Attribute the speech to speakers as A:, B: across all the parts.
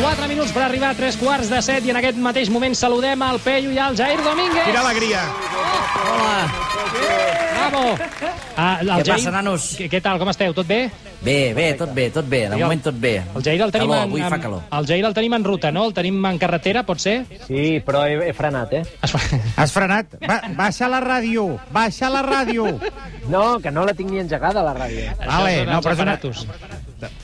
A: 4 minuts per arribar a 3 quarts de 7 i en aquest mateix moment saludem al Peyu i al Jair Domínguez.
B: Quina alegria.
C: Hola,
A: Bravo! Ah, el
C: Què
A: Jair,
C: passa, nanos?
A: Què, què tal, com esteu? Tot bé?
C: bé, bé, tot bé, tot bé, de
A: Digue'm.
C: moment tot bé.
A: El Jair el tenim,
C: calor,
A: en,
C: avui fa
A: en-
C: calor.
A: El Jair el tenim en ruta, no? El tenim en carretera, pot ser?
D: Sí, però he, he frenat, eh?
A: Es fa-
B: Has frenat? Ba baixa la ràdio, baixa la ràdio.
D: No, que no la tinc ni engegada, la ràdio.
B: Vale,
A: Això són
B: no,
A: els
B: però és una-
A: aparatos.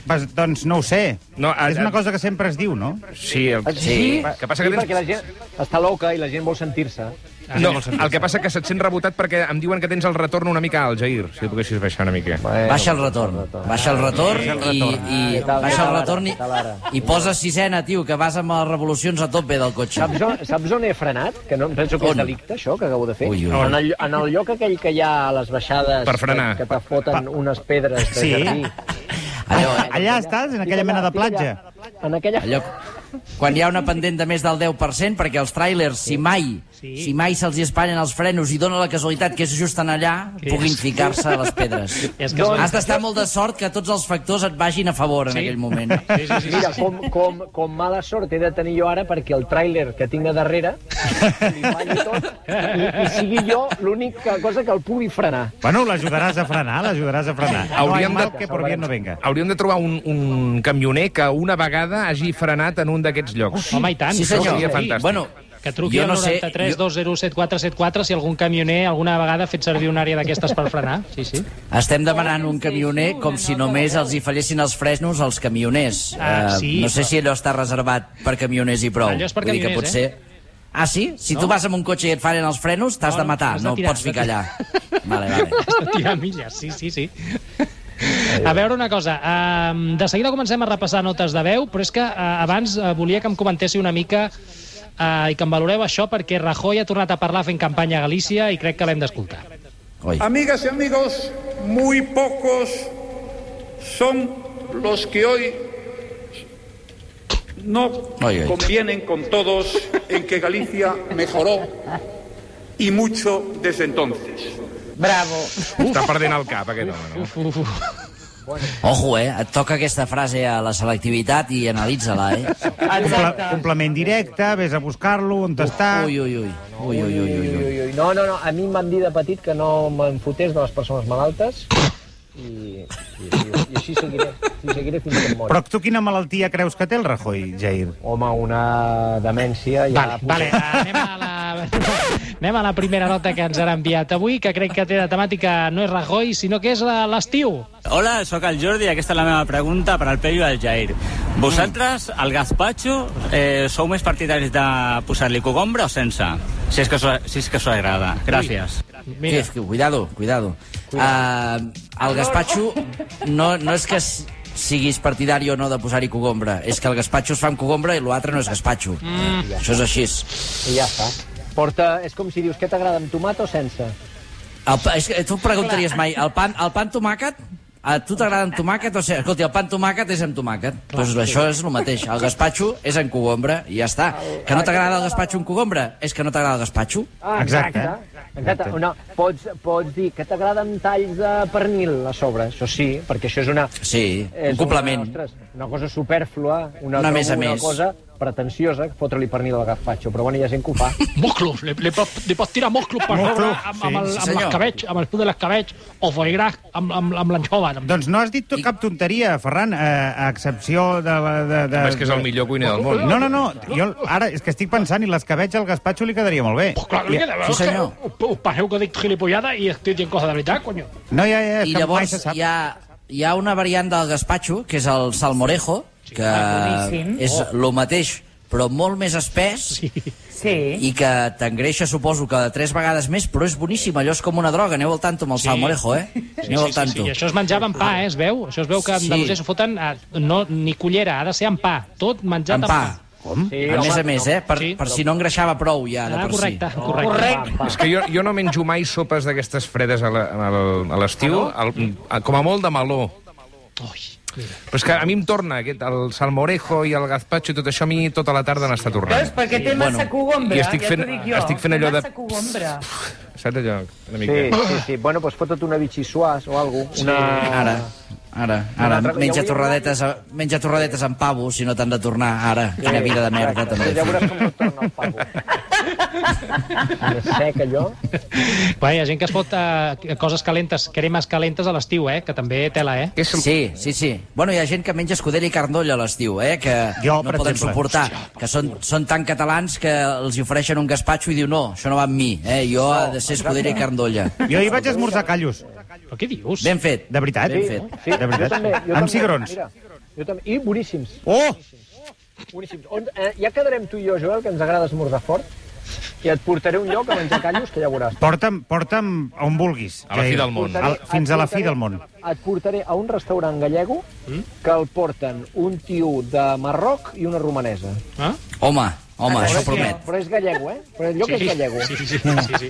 B: Pues, doncs no ho sé.
E: No, a-
B: és una cosa que sempre es diu, no?
E: Ah, Sí, el...
C: Sí.
E: Que passa que
D: sí,
E: tens-
D: perquè la gent està loca i la gent vol sentir-se.
E: No, el que passa que se't sent rebotat perquè em diuen que tens el retorn una mica al Jair, si el poguessis baixar una mica.
D: Bueno,
C: Baixa el retorn, baixa el retorn i, i
D: Ah,
C: baixa el
D: ara,
C: retorn i,
D: tal, ara.
C: i posa sisena, tio, que vas amb les revolucions a tope del cotxe.
D: Saps on, saps on he frenat? Que no em penso que
C: On?
D: és delicte, això, que acabo de fer.
C: Ui, ui.
D: En, el, en el lloc aquell que hi ha a les baixades...
E: Per frenar.
D: Que, que te foten unes pedres de
B: Sí.
D: jardí.
C: Allò,
B: Ah,
E: eh?
B: Allà estàs, en aquella mena de platja.
D: En aquella...
C: eh, allò, quan hi ha una pendent de més del 10%, perquè els trailers, si mai si mai se'ls hi espatllen els frenos i dona la casualitat que és just en allà, puguin ficar-se a les pedres. Doncs
A: És que
C: Has d'estar molt de sort que tots els factors et vagin a favor en
A: Doncs Sí.
C: aquell moment.
A: Sí, sí, sí, sí.
D: Mira, com, com, com mala sort he de tenir jo ara perquè el tràiler que tinc a darrere li falli tot i, i sigui jo l'única cosa que el pugui frenar.
B: Bueno, l'ajudaràs a frenar, l'ajudaràs a frenar. No hay
E: Hauríem
B: mal
E: de-
B: que por bien no venga.
E: Hauríem de trobar un, un camioner que una vegada hagi frenat en un d'aquests llocs.
A: Home, i tant.
C: Sí, senyor.
E: seria fantàstic.
C: Bueno,
A: Que truqui
C: jo
A: al
C: no sé,
A: 93
C: jo-
A: 201 7474 si algun camioner alguna vegada ha fet servir una àrea d'aquestes per frenar. Sí, sí.
C: Estem demanant un camioner com si només els hi fallessin els fresnos als camioners.
A: Ah,
C: Eh,
A: sí,
C: no sé
A: però-
C: si allò està reservat per camioners i prou.
A: Allò és per
C: Vull dir que
A: camioners, eh?
C: potser... Ah, sí? Si tu vas amb un cotxe i et fallen els frenos, t'has
A: No,
C: de
A: no,
C: matar,
A: has de
C: no
A: tirar,
C: pots
A: has de
C: ficar allà. Vale, vale.
A: Has de tirar milles, sí, sí, sí. A veure una cosa, um, de seguida comencem a repassar notes de veu, però és que uh, abans uh, volia que em comentéssiu una mica uh, i que em valoreu això perquè Rajoy ha tornat a parlar fent campanya a Galícia i crec que l'hem d'escoltar.
C: Oi.
F: Amigas y amigos, muy pocos son los que hoy no
C: Ay, ay.
F: convienen con todos en que Galicia mejoró y mucho desde entonces.
E: Està perdent el cap, aquest home, no?
A: Uf, uf.
C: Ojo, eh? Et toca aquesta frase a la selectivitat i analitza-la, eh?
B: Compla complement directe, vés a buscar-lo, on està...
C: Ui, ui, ui. Ui, ui, ui, ui, ui.
D: Ui, ui, No, no, no, a mi em van dir de petit que no me'n fotés de les persones malaltes i, i, i, i així seguiré, així seguiré fins que em mori.
B: Però tu quina malaltia creus que té el Rajoy, Jair?
D: Home, una demència ja...
A: Vale, vale, eh, anem a, la, anem a la primera nota que ens han enviat avui, que crec que té de temàtica no és Rajoy, sinó que és la- l'estiu.
G: Hola, sóc el Jordi i aquesta és la meva pregunta per al Peyu i al Jair. Vosaltres,
H: Mm.
G: al gazpacho, eh, sou més partidaris de posar-li cogombra o sense? Si és que, so, si és que us agrada. Gràcies.
C: Mira.
A: Mira,
C: És que, cuidado, cuidado. cuidado. Uh, el gaspatxo no, no és que s- siguis partidari o no de posar-hi cogombra, és que el gaspatxo es fa amb cogombra i l'altre no és gaspatxo. Mm. Això és així.
D: I ja està. Porta, és com si dius, què t'agrada, amb tomata o sense?
C: El, pa- és que tu em preguntaries mai, el pan, el pan tomàquet, a tu t'agrada amb tomàquet? O sigui, escolti, el pan tomàquet és amb tomàquet. Doncs això és el mateix. El gaspatxo és amb cogombra i ja està. Que no t'agrada el gaspatxo amb cogombra? És que no t'agrada el gaspatxo?
D: Ah,
B: Exacte.
D: Exacte. exacte. No, pots, pots dir que t'agraden talls de pernil a sobre, això sí, perquè això és una...
C: Sí,
D: és
C: un complement.
D: Una, ostres, una cosa supèrflua, una,
C: Una més a
D: una
C: més.
D: cosa pretensiosa, fotre-li pernil al gazpacho, però bueno, hi ha gent que ho fa.
A: Moclos, li, li, pot- li pots tirar moclos per
B: Moclos,
A: sobre amb, amb, el,
C: sí,
A: amb
C: senyor.
A: l'escabetx, amb el put de l'escabetx, o foigrà amb, amb, amb l'anxova.
B: Doncs no has dit tu cap tonteria, Ferran, eh, a excepció de... la- de, de...
E: Home, és que és el millor cuiner del món.
B: No, no, no, jo ara és que estic pensant i l'escabetx al gazpacho li quedaria molt bé.
A: Clar, que li queda,
C: Sí,
A: és que
C: senyor.
A: Us, us passeu que dic gilipollada i estic dient cosa de veritat, coño.
B: No, ja, ja, és
C: I
B: que mai
C: llavors
B: se sap.
C: hi ha, hi ha una variant del gazpacho, que és el salmorejo, que és el mateix, però molt més espès
I: Sí.
C: i que t'engreixa, suposo, que tres vegades més, però és boníssim, allò és com una droga. Aneu al tanto amb el salmorejo, eh? Aneu al tanto.
A: I això es menjava amb pa, eh, es veu? Això es veu que a
C: Sí.
A: Andalusia s'ho foten a, no, ni cullera, ha de ser amb pa. Tot menjat amb,
C: Amb pa.
B: Com?
D: Sí,
C: A més a
D: home,
C: més, eh? Per,
A: Sí.
C: per si no engreixava prou ja, de
A: Ah,
C: per si.
A: correcte, correcte.
D: Correcte.
E: És que jo, jo no menjo mai sopes d'aquestes fredes a la- a la- a l'estiu, al- a- com a molt de meló. Però és que a mi em torna aquest, el salmorejo i el gazpacho i tot això, a mi tota la tarda n'està
I: Veus,
E: tornant.
I: perquè té massa
C: Bueno,
I: cogombra,
E: i estic
I: ja
E: fent-
I: t'ho dic jo.
E: estic fent
I: Té
E: allò de-
I: Massa cogombra.
E: Saps allò? Una
D: Sí,
E: mica.
D: sí, sí. Bueno, doncs foto't una bitxissuàs o alguna cosa. Una...
C: Ah. Ara. Ara, ara,
D: altre-
C: menja
D: ja ho
C: torradetes, menja torradetes amb pavo, si no t'han de tornar ara. Quina vida de merda,
D: Exacte.
C: també.
D: Ja veuràs com pot tornar el pavo. Més sec, allò.
A: Bé, hi ha gent que es fot eh, coses calentes, cremes calentes a l'estiu, eh? Que també tela, eh?
E: És el...
C: Sí, sí, sí. Bueno, hi ha gent que menja escudella i carnolla a l'estiu, eh? Que
B: Jo,
C: no
B: per
C: poden
B: exemple.
C: suportar. que són, són tan catalans que els hi ofereixen un gaspatxo i diu no, això no va amb mi, eh? Jo ha de ser escudella i carnolla.
B: Jo hi vaig esmorzar callos.
A: Però què dius?
C: Ben fet.
B: De veritat?
C: Ben fet.
D: Sí,
B: de veritat.
D: Jo també, jo
B: Amb
D: també,
B: cigrons.
D: Mira, jo també. I boníssims.
B: Oh!
D: boníssims. On, eh, ja quedarem tu i jo, Joel, que ens agrada esmorzar fort, i et portaré a un lloc a menjar callos, que ja veuràs.
B: Porta'm, porta'm on vulguis.
E: A la fi del món.
D: Portaré-
B: Al, fins a la fi
D: et portaré-
B: del món. Mm?
D: Et portaré a un restaurant gallego que el porten un tio de Marroc i una romanesa.
A: Ah?
C: Home, home, això
D: és-
C: promet.
D: Però és gallego, eh? Però allò que és gallego.
A: Sí, sí, sí, sí, sí.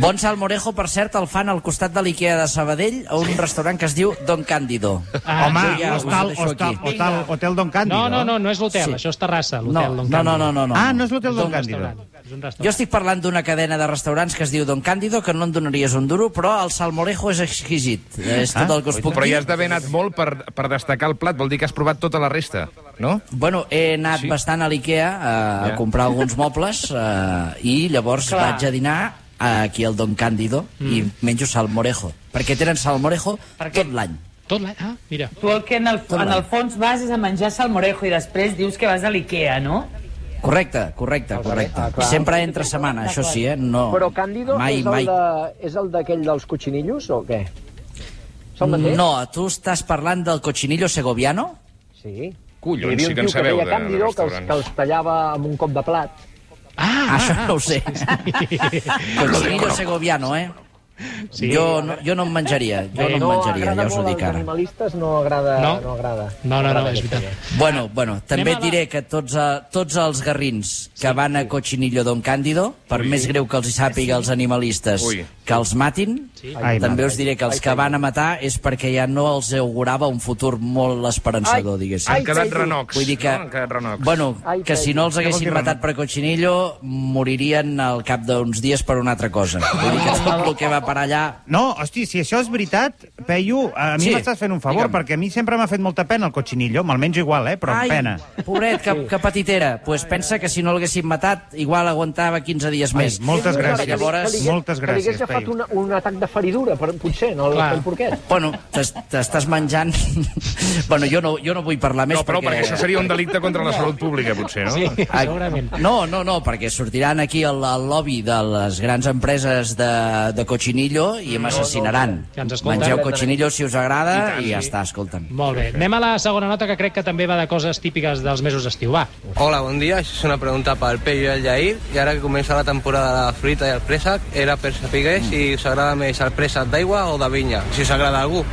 C: Bon salmorejo, per cert, el fan al costat de l'Ikea de Sabadell a un restaurant que es diu Don Cándido.
A: Ah,
B: Home,
C: jo ja us
B: hostal,
C: deixo
B: hostal,
C: aquí.
B: hostal, hotel Don Candy,
A: No, no, no, no és l'hotel,
C: Sí.
A: això és Terrassa,
C: No,
A: l'hotel.
C: no,
A: Don
C: no, no,
A: Candido.
C: no, no.
B: Ah, no és l'hotel
A: És
B: Don
A: un
B: Candy.
A: restaurant, és un
C: Jo
A: restaurant.
C: estic parlant d'una cadena de restaurants que es diu Don Cándido, que no en donaries un duro, però el salmorejo és exquisit. És
B: Ah,
C: tot el que us puc
E: Però
C: dir.
E: ja has d'haver anat molt per, per destacar el plat, vol dir que has provat tota la resta, no?
C: Bueno, he anat sí. bastant a l'IKEA a, a
E: Ja.
C: comprar alguns mobles eh, i llavors Clar. vaig a dinar aquí al Don Cándido mm. i menjo salmorejo, perquè tenen salmorejo tot l'any.
A: Tot l'any? Ah, mira.
I: Tu el que en el, en el fons vas és a menjar salmorejo i després dius que vas a l'Ikea, no?
C: Correcte, correcte, correcte.
D: Ah, clar.
C: Sempre entre setmana, això sí, eh? No,
D: Però Càndido
C: mai,
D: és, el
C: mai.
D: de, és el d'aquell dels cochinillos o què? És el mateix?
C: No, tu estàs parlant del cochinillo segoviano?
D: Sí.
E: Collons,
D: Hi havia un
E: sí que en
D: tio
E: sabeu
D: deia
E: de- de
D: Càndido que els,
E: restaurants.
D: que els tallava amb un cop de plat.
C: Ah, això no ho sé. cochinillo segoviano, eh? Sí. Jo, no, jo no em menjaria, jo no em menjaria,
D: agrada
C: ja us ho
D: molt
C: dic
D: als
C: ara.
D: animalistes, no agrada...
A: No?
D: No, no agrada.
A: No, no, no,
D: agrada
A: és
D: aquesta
A: veritat.
C: Bueno, bueno, també
A: Anem a la-
C: diré que tots, eh, tots els garrins que van a Cochinillo Don Cándido, per més greu que els hi sàpiga els animalistes
E: Ui.
C: que els matin,
B: Ai,
C: també
B: mare.
C: us diré que els que van a matar és perquè ja no els augurava un futur molt esperançador,
E: Han
C: diguéssim.
E: quedat
D: Xavi.
E: renocs.
C: Vull dir que,
E: No? Han quedat renocs.
C: bueno,
D: Ai,
C: que si no els
B: vol
C: haguessin
B: dir
C: matat per Cochinillo, moririen al cap d'uns dies per una altra cosa. Vull dir que tot el que va parar allà...
B: No, hosti, si això és veritat, Peyu, a mi
C: Sí.
B: m'estàs fent un favor,
C: Digue'm.
B: perquè a mi sempre m'ha fet molta pena el cochinillo, me'l menjo igual, eh, però amb pena.
C: pobret, que, que patitera. Doncs pues pensa que si no l'haguessin matat, igual aguantava 15 dies
B: Ai,
C: més.
B: moltes
C: I
B: gràcies.
C: Llavors,
B: Que li- Moltes
D: Que li hagués
B: gràcies,
D: agafat
B: Peyu.
D: una, un atac de feridura, per, potser, no el,
A: Clar.
D: el porquet.
C: Bueno, t'es- t'estàs menjant... bueno, jo no, jo no vull parlar més
E: No, però perquè això seria un delicte contra la salut pública, potser, no?
A: Sí,
C: Ai.
A: segurament.
C: No, no, no, perquè sortiran aquí al, al lobby de les grans empreses de, de cochinillo i m'assassinaran.
A: Que ens escolten.
C: Mengeu cochinillo si us agrada i, ja està, escolta'm.
A: Molt bé. Anem a la segona nota, que crec que també va de coses típiques dels mesos d'estiu. Va,
H: Hola, bon dia. Això és una pregunta pel Peyu i el Jair. I ara que comença la temporada de la fruita i el préssec, era per saber si us agrada més el préssec d'aigua o de vinya, si us agrada a algú.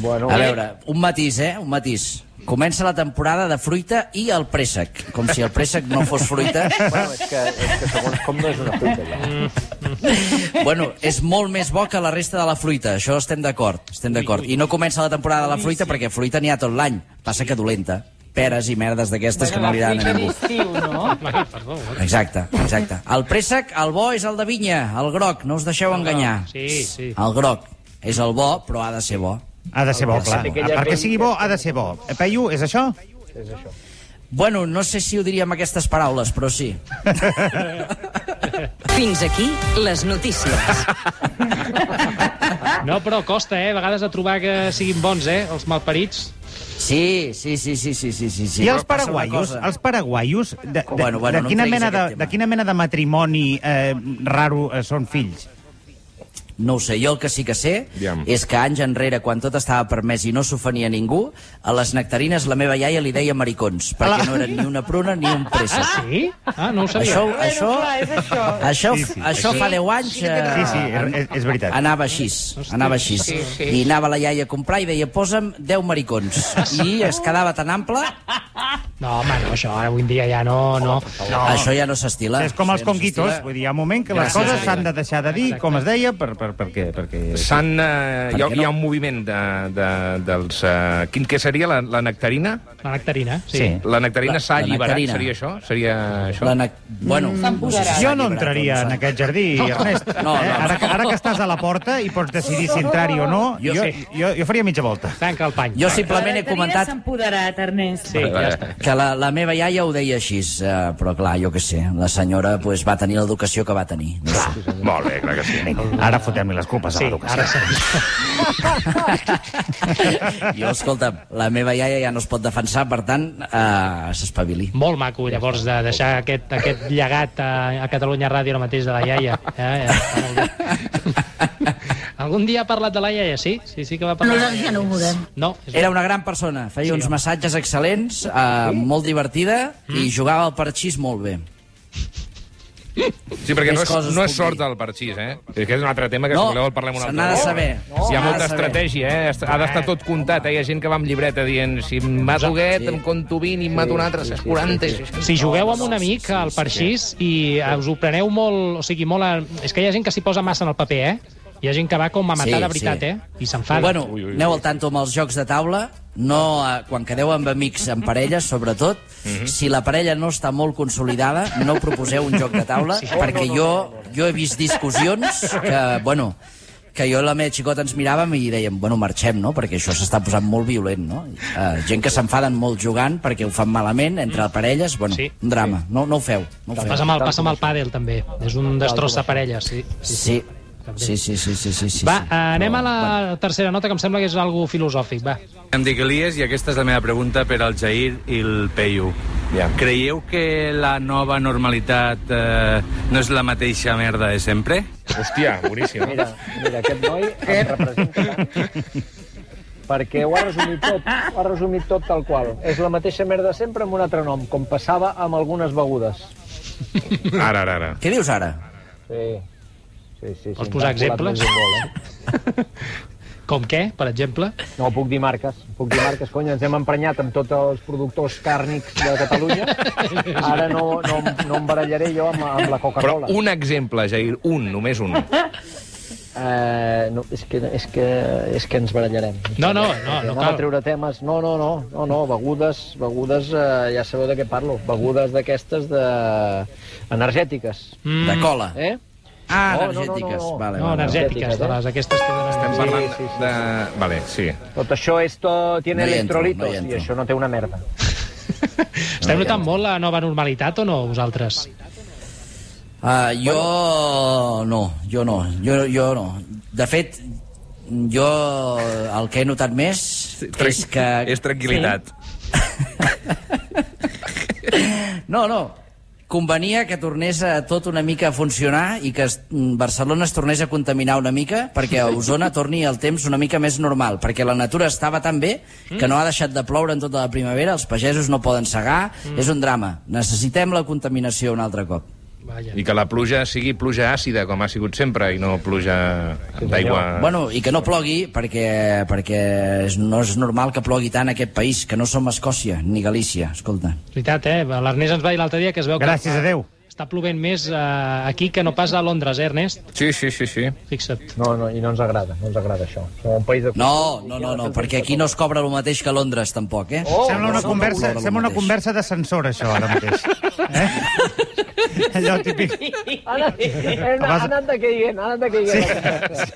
D: Bueno,
C: A veure, un matís, eh? Un matís. Comença la temporada de fruita i el préssec. Com si el préssec no fos fruita.
D: bueno, és que, és que segons com no és una fruita, ja.
C: Mm. Bueno, és molt més bo que la resta de la fruita, això estem d'acord, estem d'acord. I no comença la temporada de la fruita perquè fruita n'hi ha tot l'any, passa que dolenta. Peres i merdes d'aquestes que no li dan a ningú.
I: Estiu, no?
A: Ai, perdó. eh?
C: Exacte, exacte. El préssec, el bo és el de vinya, el groc, no us deixeu enganyar.
A: Sí, sí.
C: El groc és el bo, però ha de ser bo.
B: Ha de ser bo, clar.
D: aquella
B: Perquè
D: pell
B: sigui bo, ha de ser bo. Eh, Peyu, és això?
D: És això.
C: Bueno, no sé si ho diria amb aquestes paraules, però sí.
J: Fins aquí les notícies.
A: No, però costa, eh? A vegades de trobar que siguin bons, eh? Els malparits.
C: Sí, sí, sí, sí, sí, sí, sí. sí.
B: I els
C: Però passa una
B: paraguaios,
C: cosa.
B: els paraguaios, de, de,
C: Bueno, bueno,
B: de,
C: no em
B: quina
C: treguis
B: mena de,
C: aquest tema.
B: de quina mena de matrimoni eh, raro eh, són fills?
C: No ho sé, jo el que sí que sé
E: Aviam.
C: és que anys enrere, quan tot estava permès i no s'ofenia ningú, a les nectarines la meva iaia li deia maricons, perquè no eren ni una pruna ni un
A: Ah,
C: préssec.
A: sí? Ah, no ho sabia.
C: Això, això,
I: clar, és això.
C: això, això fa 10 anys eh,
B: Sí, sí, és, és veritat.
C: anava així, anava així. I anava la iaia a comprar i deia posa'm 10 maricons. I es quedava tan ample
A: No, home, no, això ara avui en dia ja no... no.
C: No. Això ja no s'estila.
B: És com els
C: Això ja no
B: conguitos,
C: s'estila.
B: vull dir, hi ha un moment que les
C: Gràcies,
B: coses
C: Adrià.
B: s'han de deixar de dir, com es deia, per, per, perquè... perquè...
E: S'han... Eh,
C: Per
E: hi, ha,
C: què no?
E: hi ha un moviment de, de, dels... Eh, quin, què seria? La, la nectarina?
A: La nectarina, sí.
B: Sí.
E: La nectarina
C: La-
E: s'ha
C: la
E: alliberat,
C: nectarina.
E: seria això? Seria això?
C: La nec... Bueno, no sé si
B: Jo
C: s'ha
B: no
C: alliberat
B: entraria
C: o
B: en
C: s'ha.
B: aquest jardí, Ernest.
C: No, no.
B: Eh? Ara, que, ara que estàs a la porta i pots decidir si entrar-hi o no,
C: Jo
B: jo, jo,
C: sí.
B: jo, faria mitja volta.
A: Tanca el pany.
C: Jo simplement he
I: Tarina
C: comentat
I: s'ha empoderat, Ernest.
A: Sí, ja està.
C: que la, la meva iaia ho deia així, eh, però clar, jo què sé, la senyora pues, va tenir l'educació que va tenir. No sé.
E: Molt bé, clar que sí.
B: Ara fotem-li les culpes
A: Sí,
B: a
A: ara
B: l'educació.
A: sí.
C: Jo, escolta, la meva iaia ja no es pot defensar, per tant, eh, s'espavili.
A: Molt maco, llavors, de deixar aquest, aquest llegat a, a Catalunya Ràdio ara mateix de la iaia. Eh? eh, està molt bé. Algun dia ha parlat de la iaia, sí? Sí, sí que va parlar. Nosaltres ja no ho volem. No, és
C: Era una gran persona, feia uns massatges excel·lents, eh, molt divertida,
B: Mm.
C: i jugava al parxís molt bé.
E: Sí, perquè
C: Més
E: no és,
C: coses
E: no és
C: puc
E: sort
C: dir.
E: del parxís, eh? Aquest és un altre tema que,
C: No,
E: si voleu, el parlem un
C: se
E: altre
C: n'ha de
E: cop.
C: saber.
E: Hi ha
C: Se n'ha
E: molta
C: de saber.
E: estratègia, eh? Est- Ha d'estar tot comptat, eh? Hi ha gent que va amb llibreta dient si em mato aquest,
C: Sí.
E: em conto 20 i em mato un altre, ses 40... i-
A: Si jugueu amb un amic al parxís i eh, us ho preneu molt... O sigui, molt... A... És que hi ha gent que s'hi posa massa en el paper, eh? Hi ha gent que va com a matar
C: Sí,
A: de veritat,
C: sí.
A: eh? I s'enfada.
C: Bueno, aneu al tanto amb els jocs de taula, no, eh, quan quedeu amb amics, en parelles, sobretot,
A: Mhm.
C: si la parella no està molt consolidada, no proposeu un joc de taula, perquè jo, jo he vist discussions que, bueno, que jo i la meva xicota ens miràvem i dèiem, bueno, marxem, no?, perquè això s'està posant molt violent, no? Uh, gent que s'enfaden molt jugant perquè ho fan malament entre parelles, bueno,
A: Mhm. Sí.
C: un drama, no, no ho feu. No ho feu.
A: Passa amb el, passa amb el pàdel, també. És un destroç de parella, sí.
C: Sí, sí, sí, sí, sí, sí, sí.
A: Va,
C: sí.
A: eh, anem a
C: Però,
A: la
C: bueno.
A: tercera nota, que em sembla que és algo filosòfic. Va.
H: Em dic Elias i aquesta és la meva pregunta per al Jair i el Peyu.
E: Ja.
H: Creieu que la nova normalitat eh, no és la mateixa merda de sempre?
E: Hòstia, boníssim.
D: Mira, mira, aquest noi em representa tant. Perquè ho ha resumit tot, ho ha resumit tot tal qual. És la mateixa merda sempre amb un altre nom, com passava amb algunes begudes.
E: Ara, ara, ara.
C: Què dius ara?
D: Sí, sí, sí. sí
A: Vols posar
D: em t'ha colat
A: exemples?
D: més un gol, eh?
A: Com què, per exemple?
D: No, puc dir marques, puc dir marques, cony, ens hem emprenyat amb tots els productors càrnics de Catalunya. Ara no, no, em- no em barallaré jo amb, amb la
E: Però
D: Coca-Cola.
E: un exemple, Jair, un, només un.
D: Eh, no, és, que, és, que, és que ens barallarem. Eh,
A: No, no, no, no
D: Anem a
A: cal.
D: treure temes. No, no, no, no, no begudes, begudes, eh, ja sabeu de què parlo, begudes d'aquestes de... energètiques.
C: De cola.
D: Eh?
C: Ah,
D: No, no,
C: energètiques.
D: no, no.
C: Vale,
A: No,
C: vale, vale.
A: energètiques, de les aquestes que donen...
E: Estem parlant
D: sí, sí,
E: de... Vale, sí.
D: Tot això esto tiene
C: No hi entro,
D: electrolitos
C: no hi entro.
D: i això no té una merda.
A: Esteu notant molt la nova normalitat o no, vosaltres?
C: Ah, jo no, jo no, jo, jo no. De fet, jo el que he notat més és que...
E: És tranquil·litat.
C: No, no, convenia que tornés a tot una mica a funcionar i que es- Barcelona es tornés a contaminar una mica perquè a Osona torni el temps una mica més normal, perquè la natura estava tan bé que no ha deixat de ploure en tota la primavera, els pagesos no poden segar, és un drama. Necessitem la contaminació un altre cop.
A: Vaja.
E: I que la pluja sigui pluja àcida, com ha sigut sempre, i no pluja d'aigua...
C: Bueno, i que no plogui, perquè, perquè és- no és normal que plogui tant en aquest país, que no som Escòcia ni Galícia, escolta.
A: Veritat, eh? L'Ernest ens va dir l'altre dia que es veu
B: Gràcies
A: que
B: a Déu.
A: està plovent més eh, aquí que no pas a Londres, eh, Ernest?
E: Sí, sí, sí, sí.
A: Fixa't.
D: No, no, i no ens agrada, no ens agrada això. Som un país de...
C: No, no, no, no, perquè aquí no es cobra el mateix que a Londres, tampoc, eh?
D: Oh,
B: sembla una
C: no,
B: conversa,
C: no, no,
B: sembla una
C: mateix.
B: conversa d'ascensor, això, ara mateix. Eh? Allò típic.
D: Ha anat, ha
B: Abans-
D: anat decaient, ha anat decaient.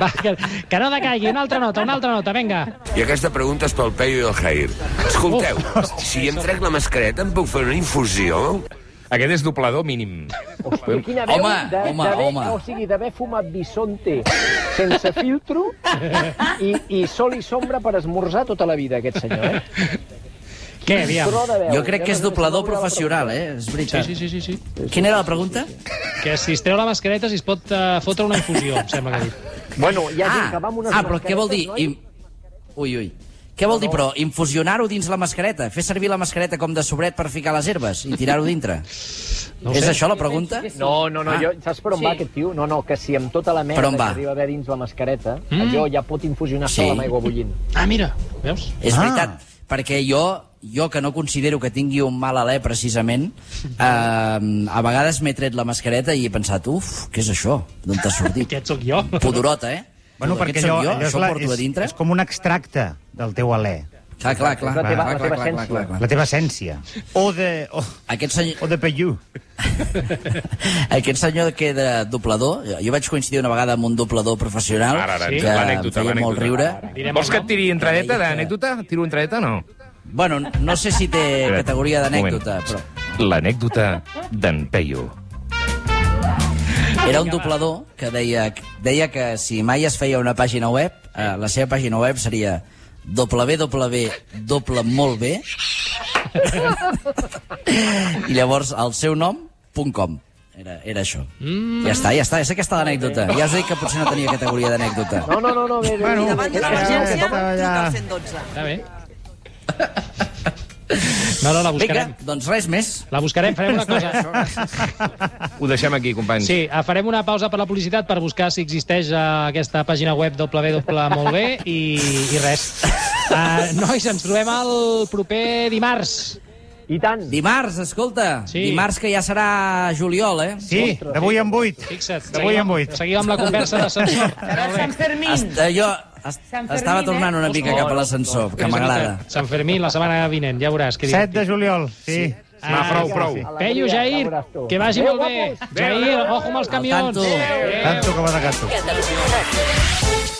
A: Va, que, que no decaigui. Una altra nota, una altra nota, vinga.
K: I aquesta pregunta és pel Peyu i el Jair. Escolteu, si em trec la mascareta em puc fer una infusió?
E: Aquest és doblador mínim.
D: Hòstia, quina veu
C: Home,
D: de,
C: home,
D: d'haver-
C: home.
D: O sigui, d'haver fumat bisonte sense filtro i, i sol i sombra per esmorzar tota la vida, aquest senyor, eh?
A: Què, Eh, aviam?
D: Tro de veu.
C: Jo crec que és
D: Ja no-
C: doblador
D: no veurà la
C: professional, eh? És
A: Sí,
C: veritat.
A: sí, sí, sí, sí.
C: Quina era la pregunta?
A: Que si es treu la mascareta si es pot uh, fotre una infusió, em sembla que ha dit.
D: Bueno, hi ha gent
C: Ah,
D: que va amb unes
C: ah però què vol dir?
D: mascaretes,
C: Im... Ui, ui. Què vol dir, però? Infusionar-ho dins la mascareta? Fer servir la mascareta com de sobret per ficar les herbes i tirar-ho dintre?
A: No ho
C: és
A: sé.
C: això la pregunta?
D: No, no, no,
C: Ah.
D: jo, saps per on
I: Sí.
D: va aquest tio? No, no, que si amb tota la
C: Per
D: merda
C: on
D: que
C: va?
D: arriba a haver dins la mascareta, allò ja pot infusionar-se
C: Sí.
D: sí. amb aigua bullint.
A: Ah, mira, veus?
C: És
B: Ah.
C: veritat, perquè jo jo que no considero que tingui un mal alè precisament, eh, a vegades m'he tret la mascareta i he pensat, uf, què és això? D'on t'ha sortit?
A: Aquest sóc jo.
C: Pudorota, eh?
B: Bueno,
C: Aquest
B: perquè
C: sóc
B: allò,
C: jo,
B: allò és,
C: això
B: la,
C: porto a
B: és,
C: dintre. Ah,
B: és com un extracte del teu alè.
C: Clar, clar, clar.
B: La teva-
C: clar,
B: la teva
C: clar, clar, clar, clar.
B: La teva essència. O de... O,
C: Aquest senyor...
B: o de pellú.
C: Aquest senyor que era doblador, jo vaig coincidir una vegada amb un doblador professional
E: Ara, ara,
C: que em
E: l'anècdota,
C: feia molt riure.
E: l'anècdota. Vols que et tiri entradeta d'anècdota? Tiro entradeta o no?
C: Bueno, no sé si té
E: Espera't,
C: categoria d'anècdota,
E: un
C: però
E: L'anècdota d'en Peyu.
C: era un doblador que deia, deia que si mai es feia una pàgina web, eh, la seva pàgina web seria www, doble molt bé, i llavors el seu nom, punt .com. Era, era això. Mm. Ja està, ja està, és aquesta l'anècdota. Ja us he dit que potser no tenia categoria d'anècdota.
D: No, no, no, no, bé, bé.
B: Bueno,
D: bé,
B: davant de
D: bé,
B: l'emergència,
D: bé, bé,
B: truca al
A: Està bé. No, no, la buscarem.
C: Vinga, doncs res més.
A: La buscarem, farem una cosa.
E: Ho deixem aquí, companys.
A: Sí, eh, farem una pausa per la publicitat per buscar si existeix eh, aquesta pàgina web www molt bé i, i res. Uh, nois, ens trobem el proper dimarts.
D: I tant.
C: Dimarts, escolta,
A: Sí.
C: sí. dimarts que ja serà juliol, eh?
B: Sí, d'avui en vuit.
A: Fixa't,
B: D'avui
A: seguim,
B: en vuit.
A: seguim amb la conversa d'ascensor.
I: Serà Sant Fermín.
C: Està, jo est
I: Sant Fermín,
C: estava tornant
I: eh?
C: una mica cap a l'ascensor, que m'agrada.
A: Sant Fermí, la setmana vinent, ja veuràs. Que
B: 7 de juliol, sí.
E: Va,
A: Ah,
E: prou, prou.
A: Peyu, Jair, que vagi molt bé. Jair, ojo amb els
C: Al
A: camions.
C: tanto.
B: Tanto com ha de canto.
J: Catalunya Ràdio.